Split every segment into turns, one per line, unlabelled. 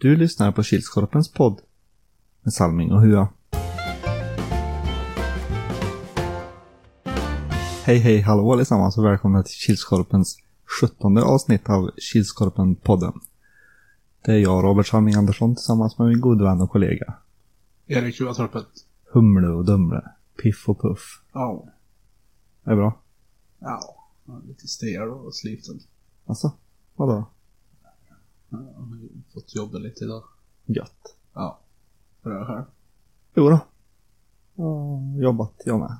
Du lyssnar på Kilskorpens podd med Salming och Hua. Hej hej hallå allesammans och välkomna till Kilskorpens 17 avsnitt av Kilskorpen-podden. Det är jag, Robert Salming Andersson, tillsammans med min gode vän och kollega
Erik Huatorpet.
Humle och Dumle, Piff och Puff.
Ja.
Det är bra.
Ja. Han är Lite stel och sliten.
Alltså, vadå?
Ja, Han har ju fått jobba lite idag.
Gött.
Ja. Bra här.
Jo då. Jag har jobbat jag med.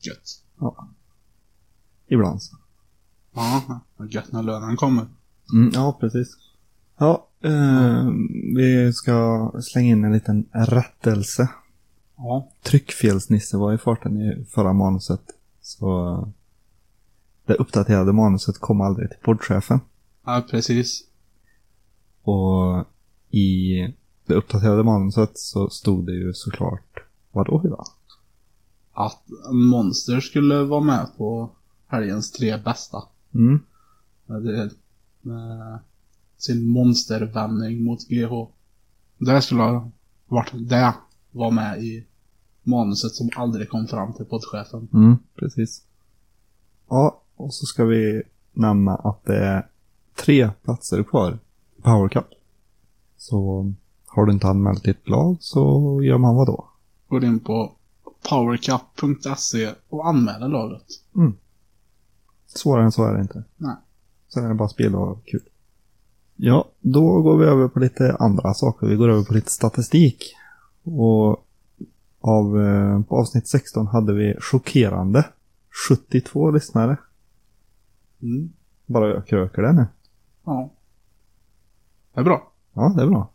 Gött.
Ibland så.
Ja, vad gött när lönen kommer.
Mm, ja, precis. Ja, eh, vi ska slänga in en liten rättelse.
Ja.
Tryckfelsnisse var i farten i förra manuset. Så eh, det uppdaterade manuset kom aldrig till poddchefen.
Ja, precis.
Och i det uppdaterade manuset så stod det ju såklart, vadå Hylla?
Att Monster skulle vara med på helgens tre bästa.
Mm,
Med, det- med sin monstervändning mot GH. Det skulle ha varit det. Var med i manuset som aldrig kom fram till poddchefen.
mm, precis. Ja, och så ska vi nämna att det är tre platser kvar i Power Cup. Så har du inte anmält ditt lag så gör man vad då?
Går in på powercup.se och anmäler laget.
Svårare än så är det inte.
Nej.
Sen är det bara spel och kul. Ja, då går vi över på lite andra saker. Vi går över på lite statistik. Och av, eh, på avsnitt 16 hade vi chockerande 72 lyssnare.
Mm.
Bara jag kröker det nu.
Ja. Det är bra.
Ja, det är bra.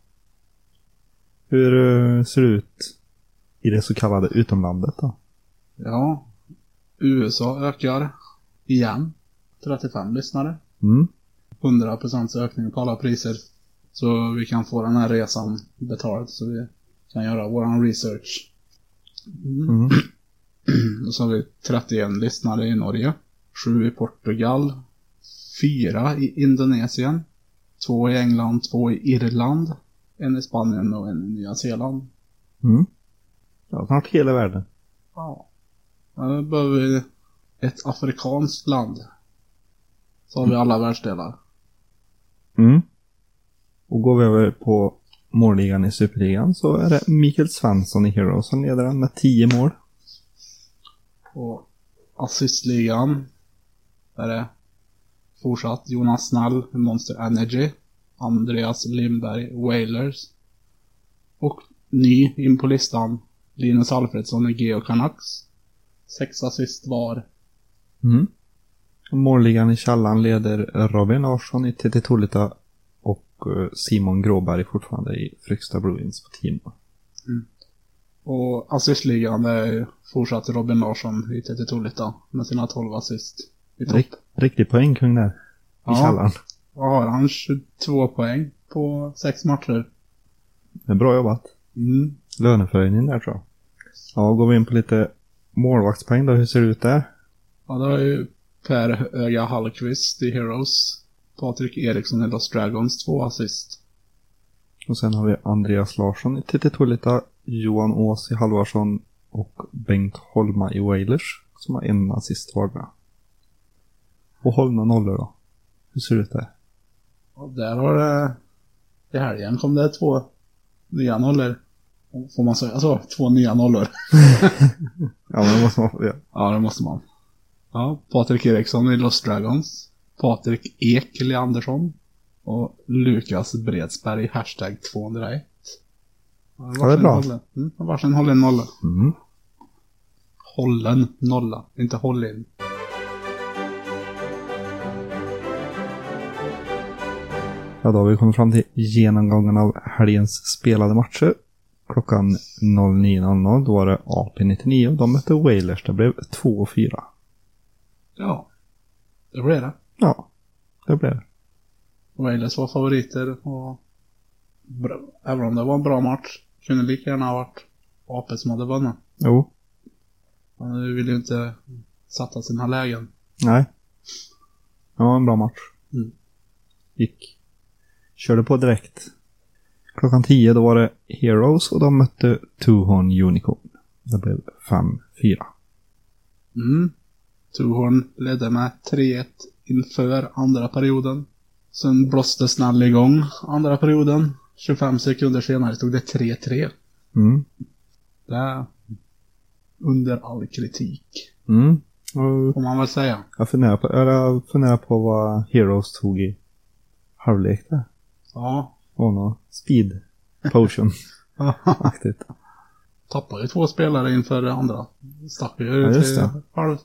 Hur eh, ser det ut i det så kallade utomlandet då?
Ja. USA ökar. Igen. 35 lyssnare.
Mm,
100% ökning på alla priser. Så vi kan få den här resan betald så vi kan göra våran research. Mm.
mm,
Och så har vi 31 lyssnare i Norge. 7 i Portugal. 4 i Indonesien. 2 i England, 2 i Irland. En i Spanien och en i Nya Zeeland.
mm. Ja, snart hela världen.
Ja. Men då behöver vi ett afrikanskt land. Så har vi alla världsdelar.
Mm. Och går vi över på målligan i Superligan så är det Mikael Svensson i Heroes som leder den med 10 mål.
Och assistligan. Där är fortsatt Jonas Snell i Monster Energy. Andreas Lindberg Wailers. Och ny in på listan. Linus Alfredsson i Geo Canucks. Sex assist var.
Mm. Målligan i Källan leder Robin Larsson i TT Tolita och eh, Simon Gråberg fortfarande i Fryksta Blue Ins på 10 mål.
Och assistligan det är ju fortsatt Robin Larsson i TT Tolita med sina 12 assist. I topp.
Rikt, riktig poängkung där. I
Ja.
Källan.
Vad har han? 22 poäng på sex matcher.
Det är bra jobbat.
Mm.
Löneförhöjning där tror jag. Ja, går vi in på lite målvaktspoäng då. Hur ser det ut där?
Ja, då är ju Per Öga Hallqvist i Heroes. Patrik Eriksson i Lost Dragons, två assist.
Och sen har vi Andreas Larsson i TT Tolita, Johan Ås i Halvarsson och Bengt Holma i Wailers som har en assist vardera. Och Holma nollor då. Hur ser det ut där?
Och där har det... I helgen kom det två nya nollor. Får man säga så? Två nya nollor.
Ja, men det måste man få göra.
Ja, det måste man. Ja, Patrik Eriksson i Lost Dragons. Patrik Ek Leandersson. Och Lukas Bredsberg, hashtag 201.
Ja, det är bra.
Mm, varsin hållen nolla.
Mm.
Hållen nolla, inte håll in.
Ja, då har vi kommit fram till genomgången av helgens spelade matcher. Klockan 09.00 då var det AP-99 och de mötte Wailers. Det blev 2-4.
Ja, det blev det.
Ja, det blev det.
Wailers var favoriter och bra, även om det var en bra match kunde lika gärna ha varit AP som hade vunnit.
Jo,
Men vi ville ju inte sätta sina lägen.
Nej. Det var en bra match.
Mm.
Gick. Körde på direkt. Klockan 10 då var det Heroes och de mötte Tuhon Unicorn. Det blev 5-4.
Mm. Tuhorn ledde med 3-1 inför andra perioden. Sen blåste Snäll igång andra perioden. 25 sekunder senare stod det 3-3.
Mm.
Det är under all kritik,
Mm. Och
får man väl säga.
jag funderar på, eller jag funderar på vad Heroes tog i halvlek där.
Ja,
Var någon speed potion-aktigt.
tappade ju två spelare inför det andra. Stack ju
Ja, just
till
det.
halv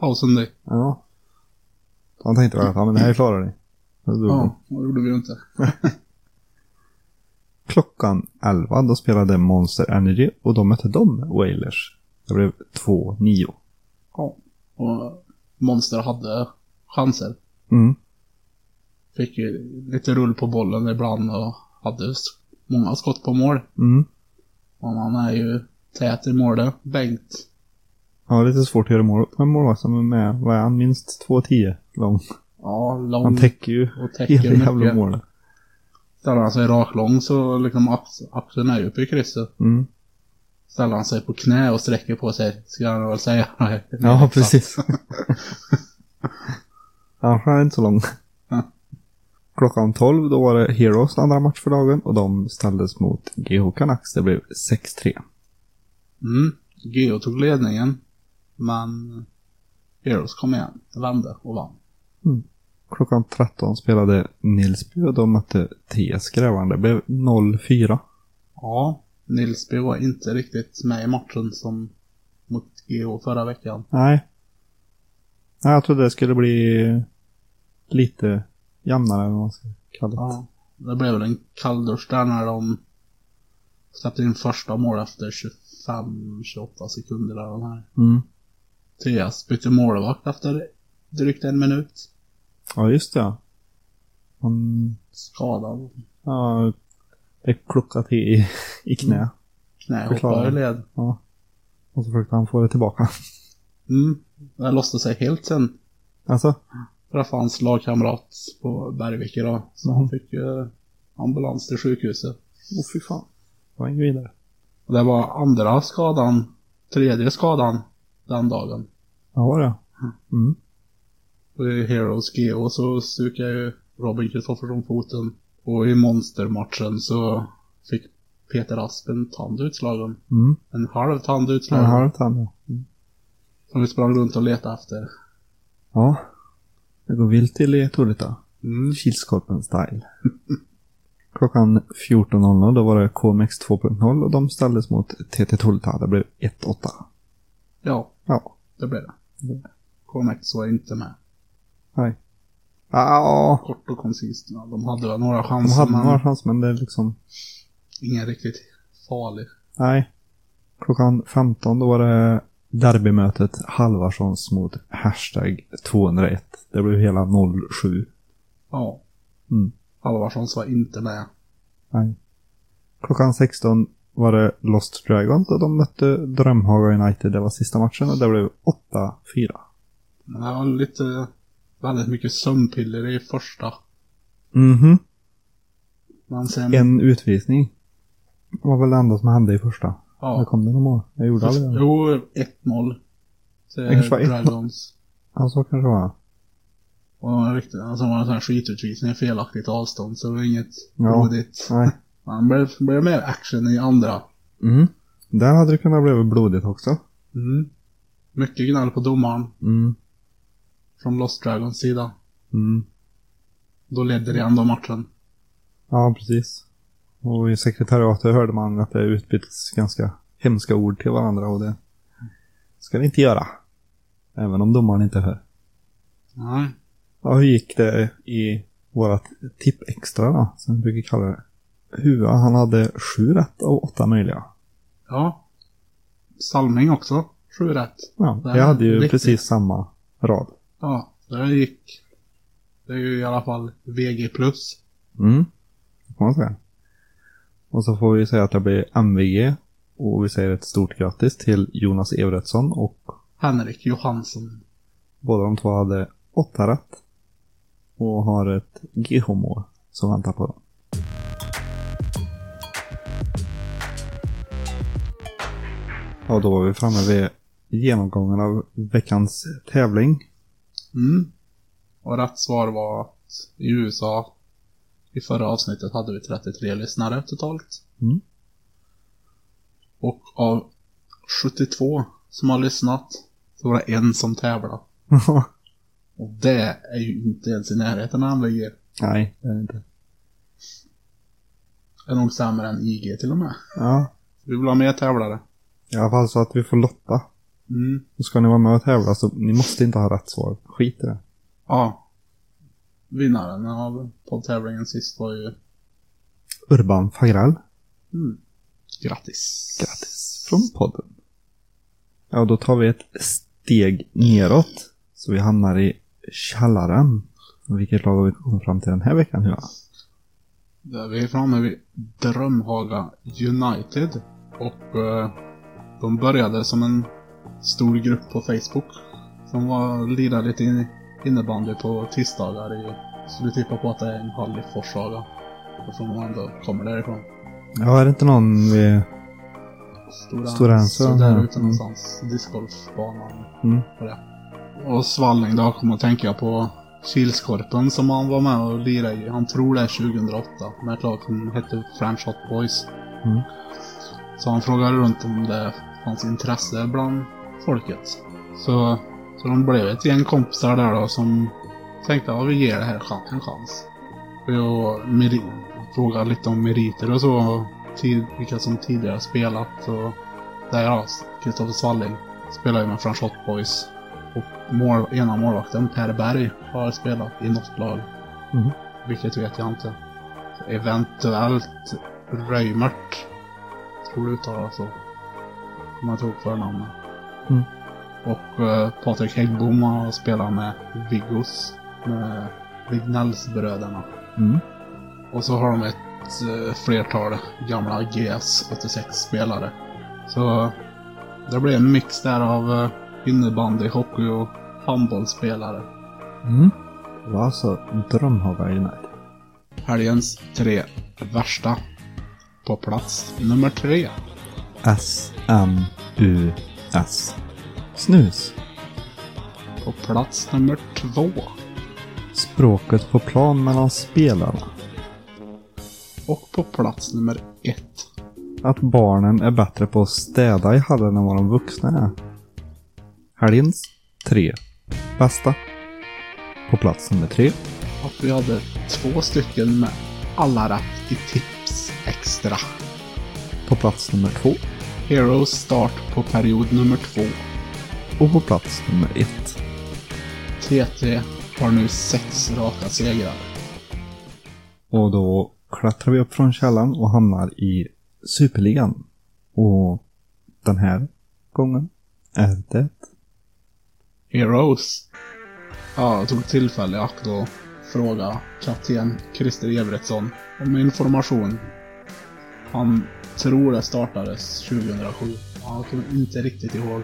pausen där.
Ja. Han tänkte väl att ja, men det här klarar ni. Och då-
Ja, det gjorde vi ju inte.
Klockan 11 då spelade Monster Energy och de mötte de Wailers. Det blev 2-9.
Ja. Och Monster hade chanser.
Mm.
Fick ju lite rull på bollen ibland och hade s- många skott på mål.
Mm.
Och han är ju tät i målet, Bengt.
Ja, lite svårt att göra mål men målvakten är med. Vad är han? Minst 2-10 lång.
Ja,
Han
lång
täcker ju
och Mm. täcker
hela jävla
mycket.
målet.
Ställer han sig raklång så liksom ax- axeln är ju uppe i krysset.
Mm.
Ställer han sig på knä och sträcker på sig, ska han väl säga.
Ja, precis. Ja, Han är inte så lång.
Ja.
Klockan 12 då var det Heroes andra match för dagen och de ställdes mot GH Canucks. Det blev 6-3.
Mm. Geo tog ledningen. Men Heroes kom igen, vände och vann.
Klockan 13 spelade Nilsby och de mötte TS Grävaren. Det blev 0-4.
Ja, Nilsby var inte riktigt med i matchen som mot Geo förra veckan.
Nej. Nej, jag trodde det skulle bli lite jämnare än vad man ska kalla det.
Ja, det blev väl en kalldusch där när de släppte in första mål efter 25-28 sekunder. Där de här.
Mm.
TS bytte målvakt efter drygt en minut.
Ja, just det. ja. Han,
Skadad.
ja, det klockade till i, i knä.
Knä
Förklara.
hoppade i led.
Och så försökte han få det tillbaka.
Mm. Det lossade sig helt sen.
Alltså?
träffade hans lagkamrat på Bergvik idag. Så
Mhm.
han fick eh, ambulans till sjukhuset.
Åh fy fan. Det var inget vidare.
Och det var andra skadan, tredje skadan den dagen.
Ja, var det? Mm.
Och I Heroes GO så stukade ju Robin Kristoffersson foten. Och i Monstermatchen så fick Peter Asp en tand utslagen.
Mm.
En halv tand
En
utslagen.
halv tand, ja. Mm.
Som vi sprang runt och letade efter.
Ja. Det går vilt till i Torita.
Mm.
Kilskorpen-style. Klockan 14.00 då var det KMX 2.0 och de ställdes mot TT Tolta. Det blev 1-8.
Ja,
Ja.
det blev det.
Mm.
KMX var inte med.
Ja,
Kort och koncist. Ja, de hade väl några
de
chanser
hade några
men
chanser men det är liksom...
ingen riktigt farlig.
Nej. Klockan 15 då var det derbymötet Halvarssons mot hashtag 201. Det blev hela 07.
Ja.
Mm.
Halvarssons var inte med.
Nej. Klockan 16 var det Lost Dragons och de mötte Drömhaga United. Det var sista matchen och det blev 8-4.
Men det var lite, väldigt mycket sömnpiller i första.
Mhm.
Men sen,
En utvisning. var väl det enda som hände i första. Där
ja.
kom det någon mål. Jag gjorde aldrig det.
Jo, 1-0.
Det kanske var
Till
1-0.
Dragons.
Ja, så kanske det var.
Och riktigt, alltså det var en sån här skitutvisning, felaktigt avstånd, så det var inget
Ja.
blodigt.
Nej.
Men det blev, blev mer action i andra.
Mm. Där hade det kunnat bli blodigt också.
Mm. Mycket gnäll på domaren
Mm.
från Lost Dragons sida.
Mm.
Då ledde det ändå matchen.
Ja, precis. Och i sekretariatet hörde man att det utbyttes ganska hemska ord till varandra och det ska det inte göra. Även om domaren inte hör.
Nej.
Ja, hur gick det i vårat tipp extra då, som vi brukar kalla det? Hua, han hade sju rätt av åtta möjliga.
Ja. Salming också. Sju rätt.
Ja,
Nej,
jag hade ju
riktigt.
precis samma rad.
Ja, det här gick. Det är ju i alla fall VG+. plus.
Mm. Det får man säga. Och så får vi säga att det blir MVG. Och vi säger ett stort grattis till Jonas Everetsson och
Henrik Johansson.
båda de två hade åtta rätt. Och har ett GH-mål som väntar på dem. Ja, då var vi framme vid genomgången av veckans tävling.
Mm. Och rätt svar var att i USA, i förra avsnittet hade vi 33 lyssnare totalt.
Mm.
Och av 72 som har lyssnat så var det en som tävlade. Och det är ju inte ens i närheten av MVG.
Nej, det är inte.
Det är nog sämre än IG till och med.
Ja,
Vi vill ha mer tävlare.
i alla fall så att vi får lotta.
Mm.
Och ska ni vara med och tävla så ni måste inte ha rätt svar. Skit i det.
Ja. Vinnaren av poddtävlingen sist var ju...
Urban Fagrell.
Mm. Grattis.
Grattis från podden. Ja, då tar vi ett steg neråt. Så vi hamnar i källaren. Vilket lag har vi kommit fram till den här veckan, Hua?
Där vi är framme vid Drömhaga United. Och eh, de började som en stor grupp på Facebook. Som var lirade lite in, innebandy på tisdagar i... Skulle tippa på att det är en hall i Forshaga. Eftersom de ändå kommer därifrån.
Ja, är det inte någon vi...
Stora,
Stora Enso,
Så där
ja.
ute någonstans. Discgolfbanan.
Mm.
Och Svalling då kom att tänka på Kilskorpen som han var med och lirade i. Han tror det är 2008 med ett lag som hette French Hot Boys.
Mm.
Så han frågade runt om det fanns intresse bland folket. Så, så de blev ett gäng kompisar där då som tänkte att vi ger det här chan- en chans. Och meri- frågade lite om meriter och så. Tid, vilka som tidigare spelat och där ja, Kristoffer Svalling spelar ju med French Hot Boys. Och mål, ena målvakten, Per Berg, har spelat i något lag.
Mhm.
Vilket vet jag inte. Eventuellt Röimert. Tror du uttalar så. Om jag tog förnamnet.
Mm.
Och eh, Patrik Häggbom har spelat med Viggos. Med Vignellsbröderna.
Mm.
Och så har de ett eh, flertal gamla GS86-spelare. Så det blir en mix där av eh, innebandy, hockey och handbollsspelare.
Mm. Det var alltså Drömhaga United.
Helgens tre värsta. På plats nummer tre.
S-M-U-S. Snus.
På plats nummer två.
Språket på plan mellan spelarna.
Och på plats nummer ett.
Att barnen är bättre på att städa i hallen än vad de vuxna är. Helgens tre bästa. På plats nummer tre.
Att vi hade två stycken med alla rätt i tips extra.
På plats nummer två.
Heroes start på period nummer två.
Och på plats nummer ett.
TT har nu sex raka segrar.
Och då klättrar vi upp från källan och hamnar i Superligan. Och den här gången är det
Heroes. Ja, jag tog tillfälle i akt och fråga kapten Christer Everetsson om information. Han tror det startades 2007. Han kommer inte riktigt ihåg.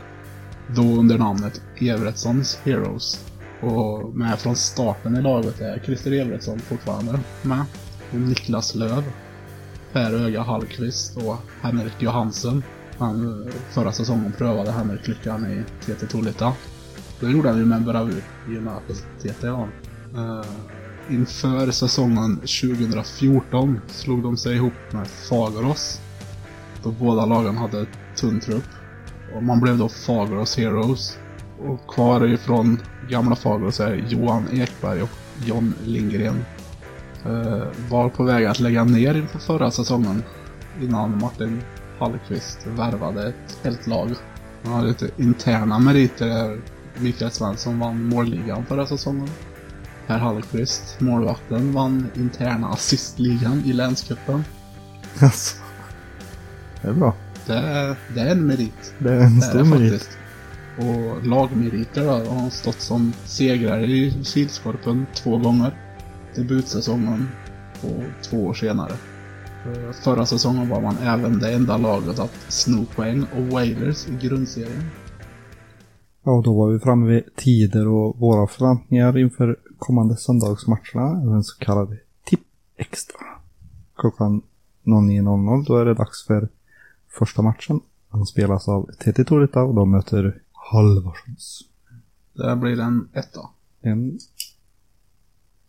Då under namnet Everetssons Heroes. Och med från starten i laget är Christer Everetsson fortfarande med. Och Niklas Löv. Per Öga Hallqvist och Henrik Johansen. Han eh, förra säsongen prövade Henrik Lyckan i TT Tolita. Det gjorde han ju med bravur i och med att TT var uh, Inför säsongen 2014 slog de sig ihop med Fagerås. Då båda lagen hade tunn trupp. Och man blev då Fagerås Heroes. Och kvar ifrån gamla Fagerås är Johan Ekberg och John Lindgren. Eh, var på väg att lägga ner inför förra säsongen. Innan Martin Hallqvist värvade ett helt lag. Han hade lite interna meriter där Mikael Svensson vann målligan förra säsongen. Per Hallqvist, målvakten, vann interna assistligan i länscupen.
Alltså. Det är bra.
Det är, det är en merit.
Det är en
Det är det
stor merit.
faktiskt. Och lagmeriter då. Har han stått som segrare i Kilskorpen två gånger. Debutsäsongen och två år senare. Eh, Förra säsongen var man även det enda laget att sno poäng och Wailers i grundserien.
Ja, och då var vi framme vid tider och våra förväntningar inför kommande söndagsmatcherna. Även så kallad tipp extra. Klockan 09.00 då är det dags för första matchen. Han spelas av TT Torita och de möter Halvarssons.
Där blir den etta.
En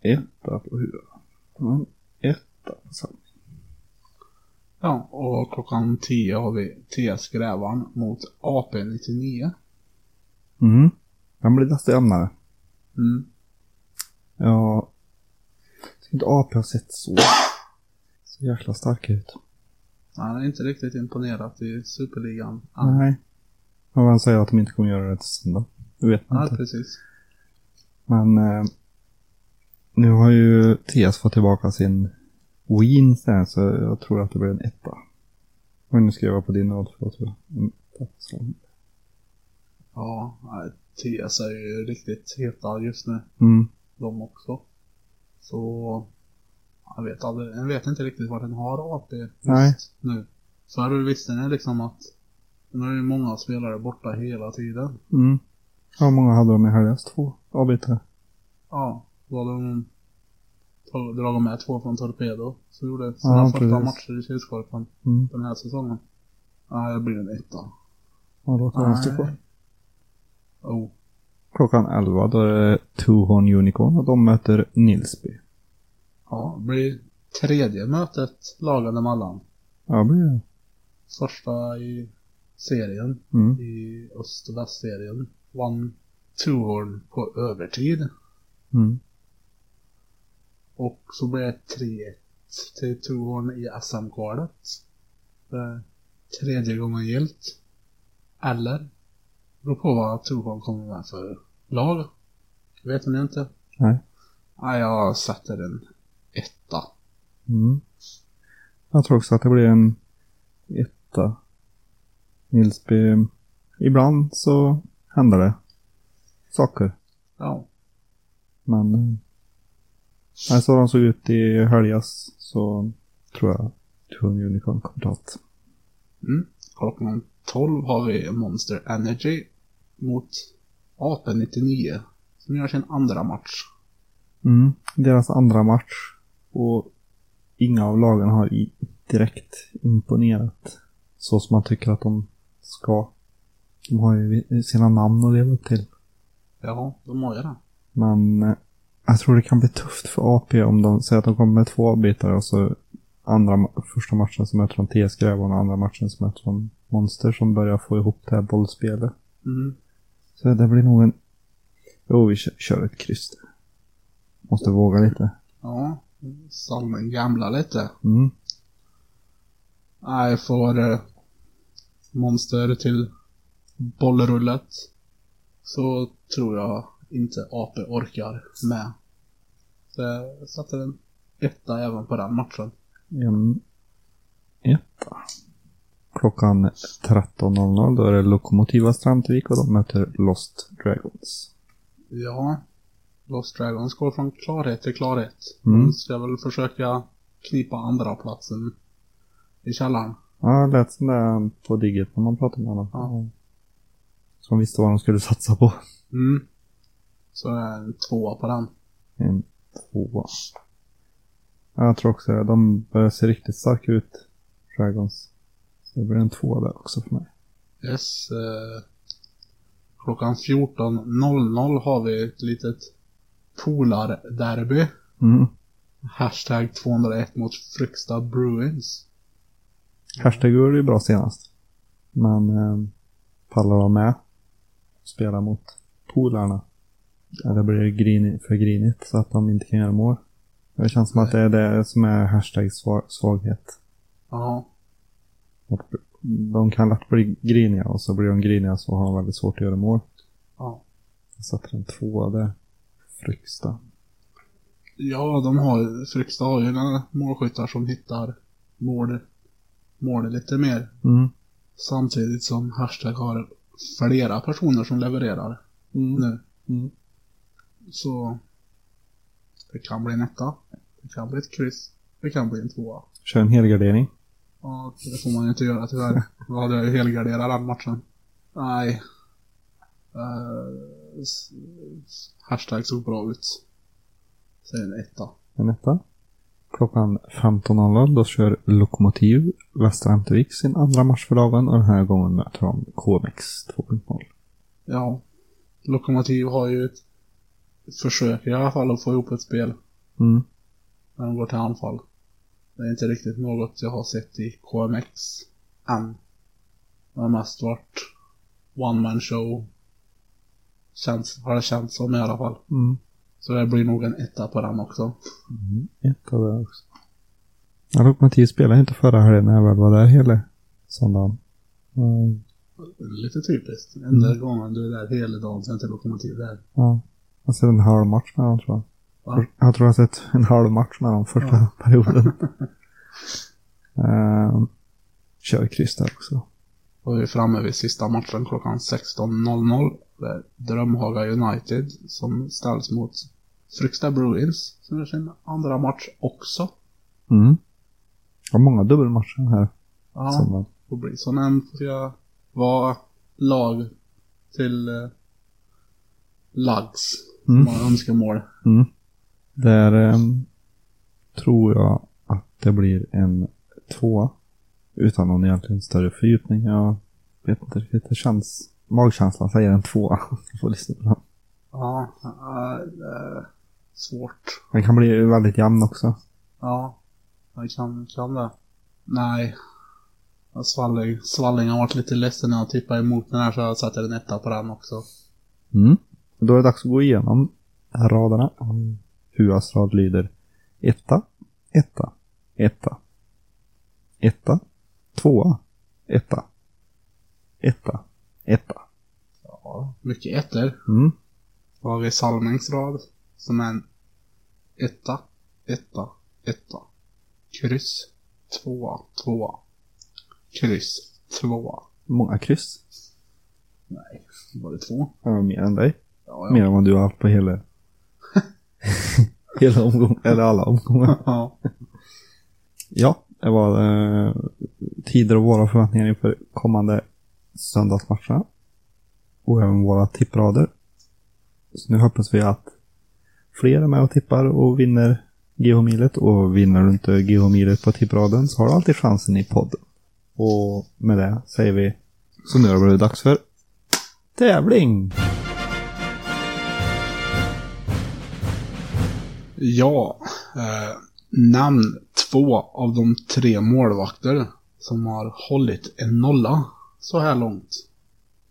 etta på huvudet. En etta på samma.
Ja, och klockan 10 har vi TS Grävaren mot AP99.
Mm. Han blir desto jämnare.
Mm.
Ja. Tycker inte AP har sett så, så jäkla stark ut.
Han är inte riktigt imponerat i Superligan. än.
Nej. Men vem säger att de inte kommer göra det till söndag? Det vet man
Nej,
inte.
precis.
Men eh, nu har ju TS fått tillbaka sin win sen så jag tror att det blir en etta. Och nu skrev jag på din rad för att jag en etta. Så.
Ja, nej, TS är ju riktigt heta just nu,
Mm.
de också. Så, jag vet aldrig, jag vet inte riktigt vad den har AP just
Nej.
nu. Förr visste ni liksom att, nu är ju många spelare borta hela tiden.
Mm. Hur många hade de i helgas? Två avbytare?
Ja, var de to- dragit med två från Torpedo, så gjorde sina
Ja,
första
precis.
matcher i Kilskorpen
Mm.
den här säsongen. Nej, det blir en etta.
Ja, då kan de stå kvar.
Nej. Oh,
Klockan 11 då är det Tuhorn Unicorn och de möter Nilsby.
ja, det blir tredje mötet lagen emellan.
Ja, det blir det.
första i serien,
Mm.
i öst och västserien, vann Tuhorn på övertid.
Mm.
Och så blev det 3-1 till Tuhorn i SM-kvalet. Det är Tredje gången gillt. Eller, beror på vad Tuhorn kommer med för lag. Vet ni inte?
Nej.
Nej, jag sätter en etta.
Mm. Jag tror också att det blir en etta. Nilsby. Ibland så händer det saker.
Ja.
Men eh, nej, så de såg ut i helgas så tror jag Tuhorn Unicorn kommer ta det.
Mm. Klockan 12 har vi Monster Energy mot AP99 som gör sin andra match.
Mm. Deras andra match. Och inga av lagen har i, direkt imponerat. Så som man tycker att de ska. De har ju vi- sina namn att leva upp till.
Ja, de har ju det.
Men eh, jag tror det kan bli tufft för AP om de säger att de kommer med två avbytare och så andra, ma- första matchen så möter de TS Grävarna och andra matchen så möter de Monster som börjar få ihop det här bollspelet.
Mm.
Så det blir nog en... Jo, vi kö- kör ett kryss där. Måste våga lite.
Ja, Salmen gamla lite.
Mm.
Nej, får eh, Monster till bollrullet så tror jag inte AP orkar med. Så jag satte en etta även på den matchen.
En etta. Klockan 13.00 då är det Lokomotiva Strandvik och de möter Lost Dragons.
Ja. Lost Dragons går från klarhet till klarhet.
Mm.
De ska väl försöka knipa andra platsen i källaren.
Ja, det lät som det på digget när man pratade med honom.
Ja.
Som visste vad de skulle satsa på.
Mm. Så det är en tvåa på den.
En tvåa. Ja, Jag tror också det. De börjar se riktigt starka ut, Dragons. Så det blir en tvåa där också för mig.
Yes. Eh, klockan 14.00 har vi ett litet polarderby.
Mm.
Hashtag 201 mot Fryksta Bruins.
Hashtag gjorde ju bra senast. Men eh, pallar de med? Spela mot polarna? Eller blir det grini, för grinigt så att de inte kan göra mål? Det känns som att det är det som är hashtags sva- svaghet.
Ja.
Att De kan lätt bli griniga och så blir de griniga så har de väldigt svårt att göra mål.
Ja.
Jag satte en tvåa där. Fryksta.
Ja, de har, Fryksta har ju några målskyttar som hittar mål, mål lite mer.
Mm.
Samtidigt som Hashtag har flera personer som levererar
Mm.
nu.
Mm.
Så det kan bli en etta. Det kan bli ett kryss. Det kan bli en tvåa.
Kör en helgardering.
Ja, det får man ju inte göra tyvärr. Då hade jag ju helgarderat den matchen. Nej. Eh, s- s- hashtag såg bra ut. Säger en etta.
En etta. Klockan 15.00 då kör Lokomotiv Västra Ämtervik sin andra match för dagen och den här gången möter de KMX 2.0.
Ja. Lokomotiv har ju ett försök i alla fall att få ihop ett spel
Mm.
när de går till anfall. Det är inte riktigt något jag har sett i KMX än. Det har mest varit one man show. Känns, har det känts som i alla fall.
Mm.
Så det blir nog en etta på den också.
Mm. Ett av det också. Ja, Lokomotiv spelade inte förra helgen när jag väl var där hela söndagen. Mm.
Lite typiskt. Enda gången du är där hela dagen sen till lokomotiv där.
Ja. Jag har sett en halv match med dem tror jag.
Va?
Jag tror jag har sett en halv match med dem första
Ja.
perioden. Ehm, kör kryss där också.
Och vi är framme vid sista matchen klockan 16.00. Det är Drömhaga United som ställs mot Fryksta Bruins som är sin andra match också.
Mm. Det var många dubbelmatcher här.
Ja,
söndagen.
och Brisonen får jag vara lag till eh, Lags.
Mm.
Många önskemål.
Mm. Där ehm, tror jag att det blir en tvåa. Utan någon egentligen större fördjupning. Jag vet inte riktigt. Det känns... Magkänslan säger en tvåa. Jag får lyssna på den.
Ja, det är eh, svårt.
Den kan bli väldigt jämn också.
Ja, jag kan, kan det. Nej. Ja, Svalling, Svalling har varit lite ledsen när jag tippade emot den här så jag satte en etta på den också.
Mm. Då är det dags att gå igenom raderna. Mm. Huas rad lyder etta, etta, etta. Etta, tvåa, etta. Etta, etta.
Ja, mycket ettor.
Mm.
Då har vi Salmings rad som är en etta, etta, etta. Kryss, tvåa, tvåa. Kryss, tvåa.
Många kryss.
Nej, var det två?
Det var mer än dig.
Ja,
Mer än vad du har haft på hela... hela omgången, eller alla omgångar.
ja.
Ja, det var eh, tider och våra förväntningar inför kommande söndagsmatcherna. Och även våra tipprader. Så nu hoppas vi att fler är med och tippar och vinner GH-milet. Och vinner du inte GH-milet på tippraden så har du alltid chansen i podden. Och med det säger vi, så nu har det blivit dags för tävling!
Ja, eh, namn två av de tre målvakter som har hållit en nolla så här långt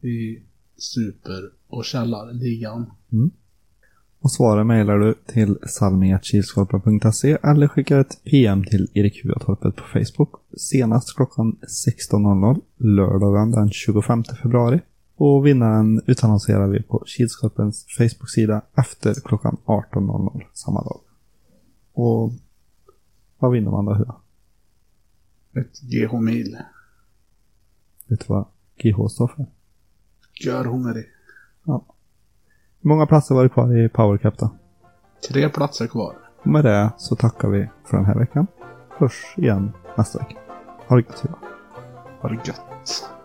i Super och Källarligan.
Och svaren mejlar du till salmi.kilskorpa.se eller skickar ett PM till Erik Huatorpet på Facebook senast klockan 16.00 lördagen den 25 februari. Och vinnaren utannonserar vi på Kilskorpens Facebook-sida efter klockan 18.00 samma dag. Och vad vinner man då? Hua?
Ett GH-mil.
Vet du vad GH står för?
Gör hungrig.
Hur många platser var det kvar i Power Cup då?
Tre platser kvar.
Och med det så tackar vi för den här veckan. Hörs igen nästa vecka. Ha det gött Hua.
Har det gött.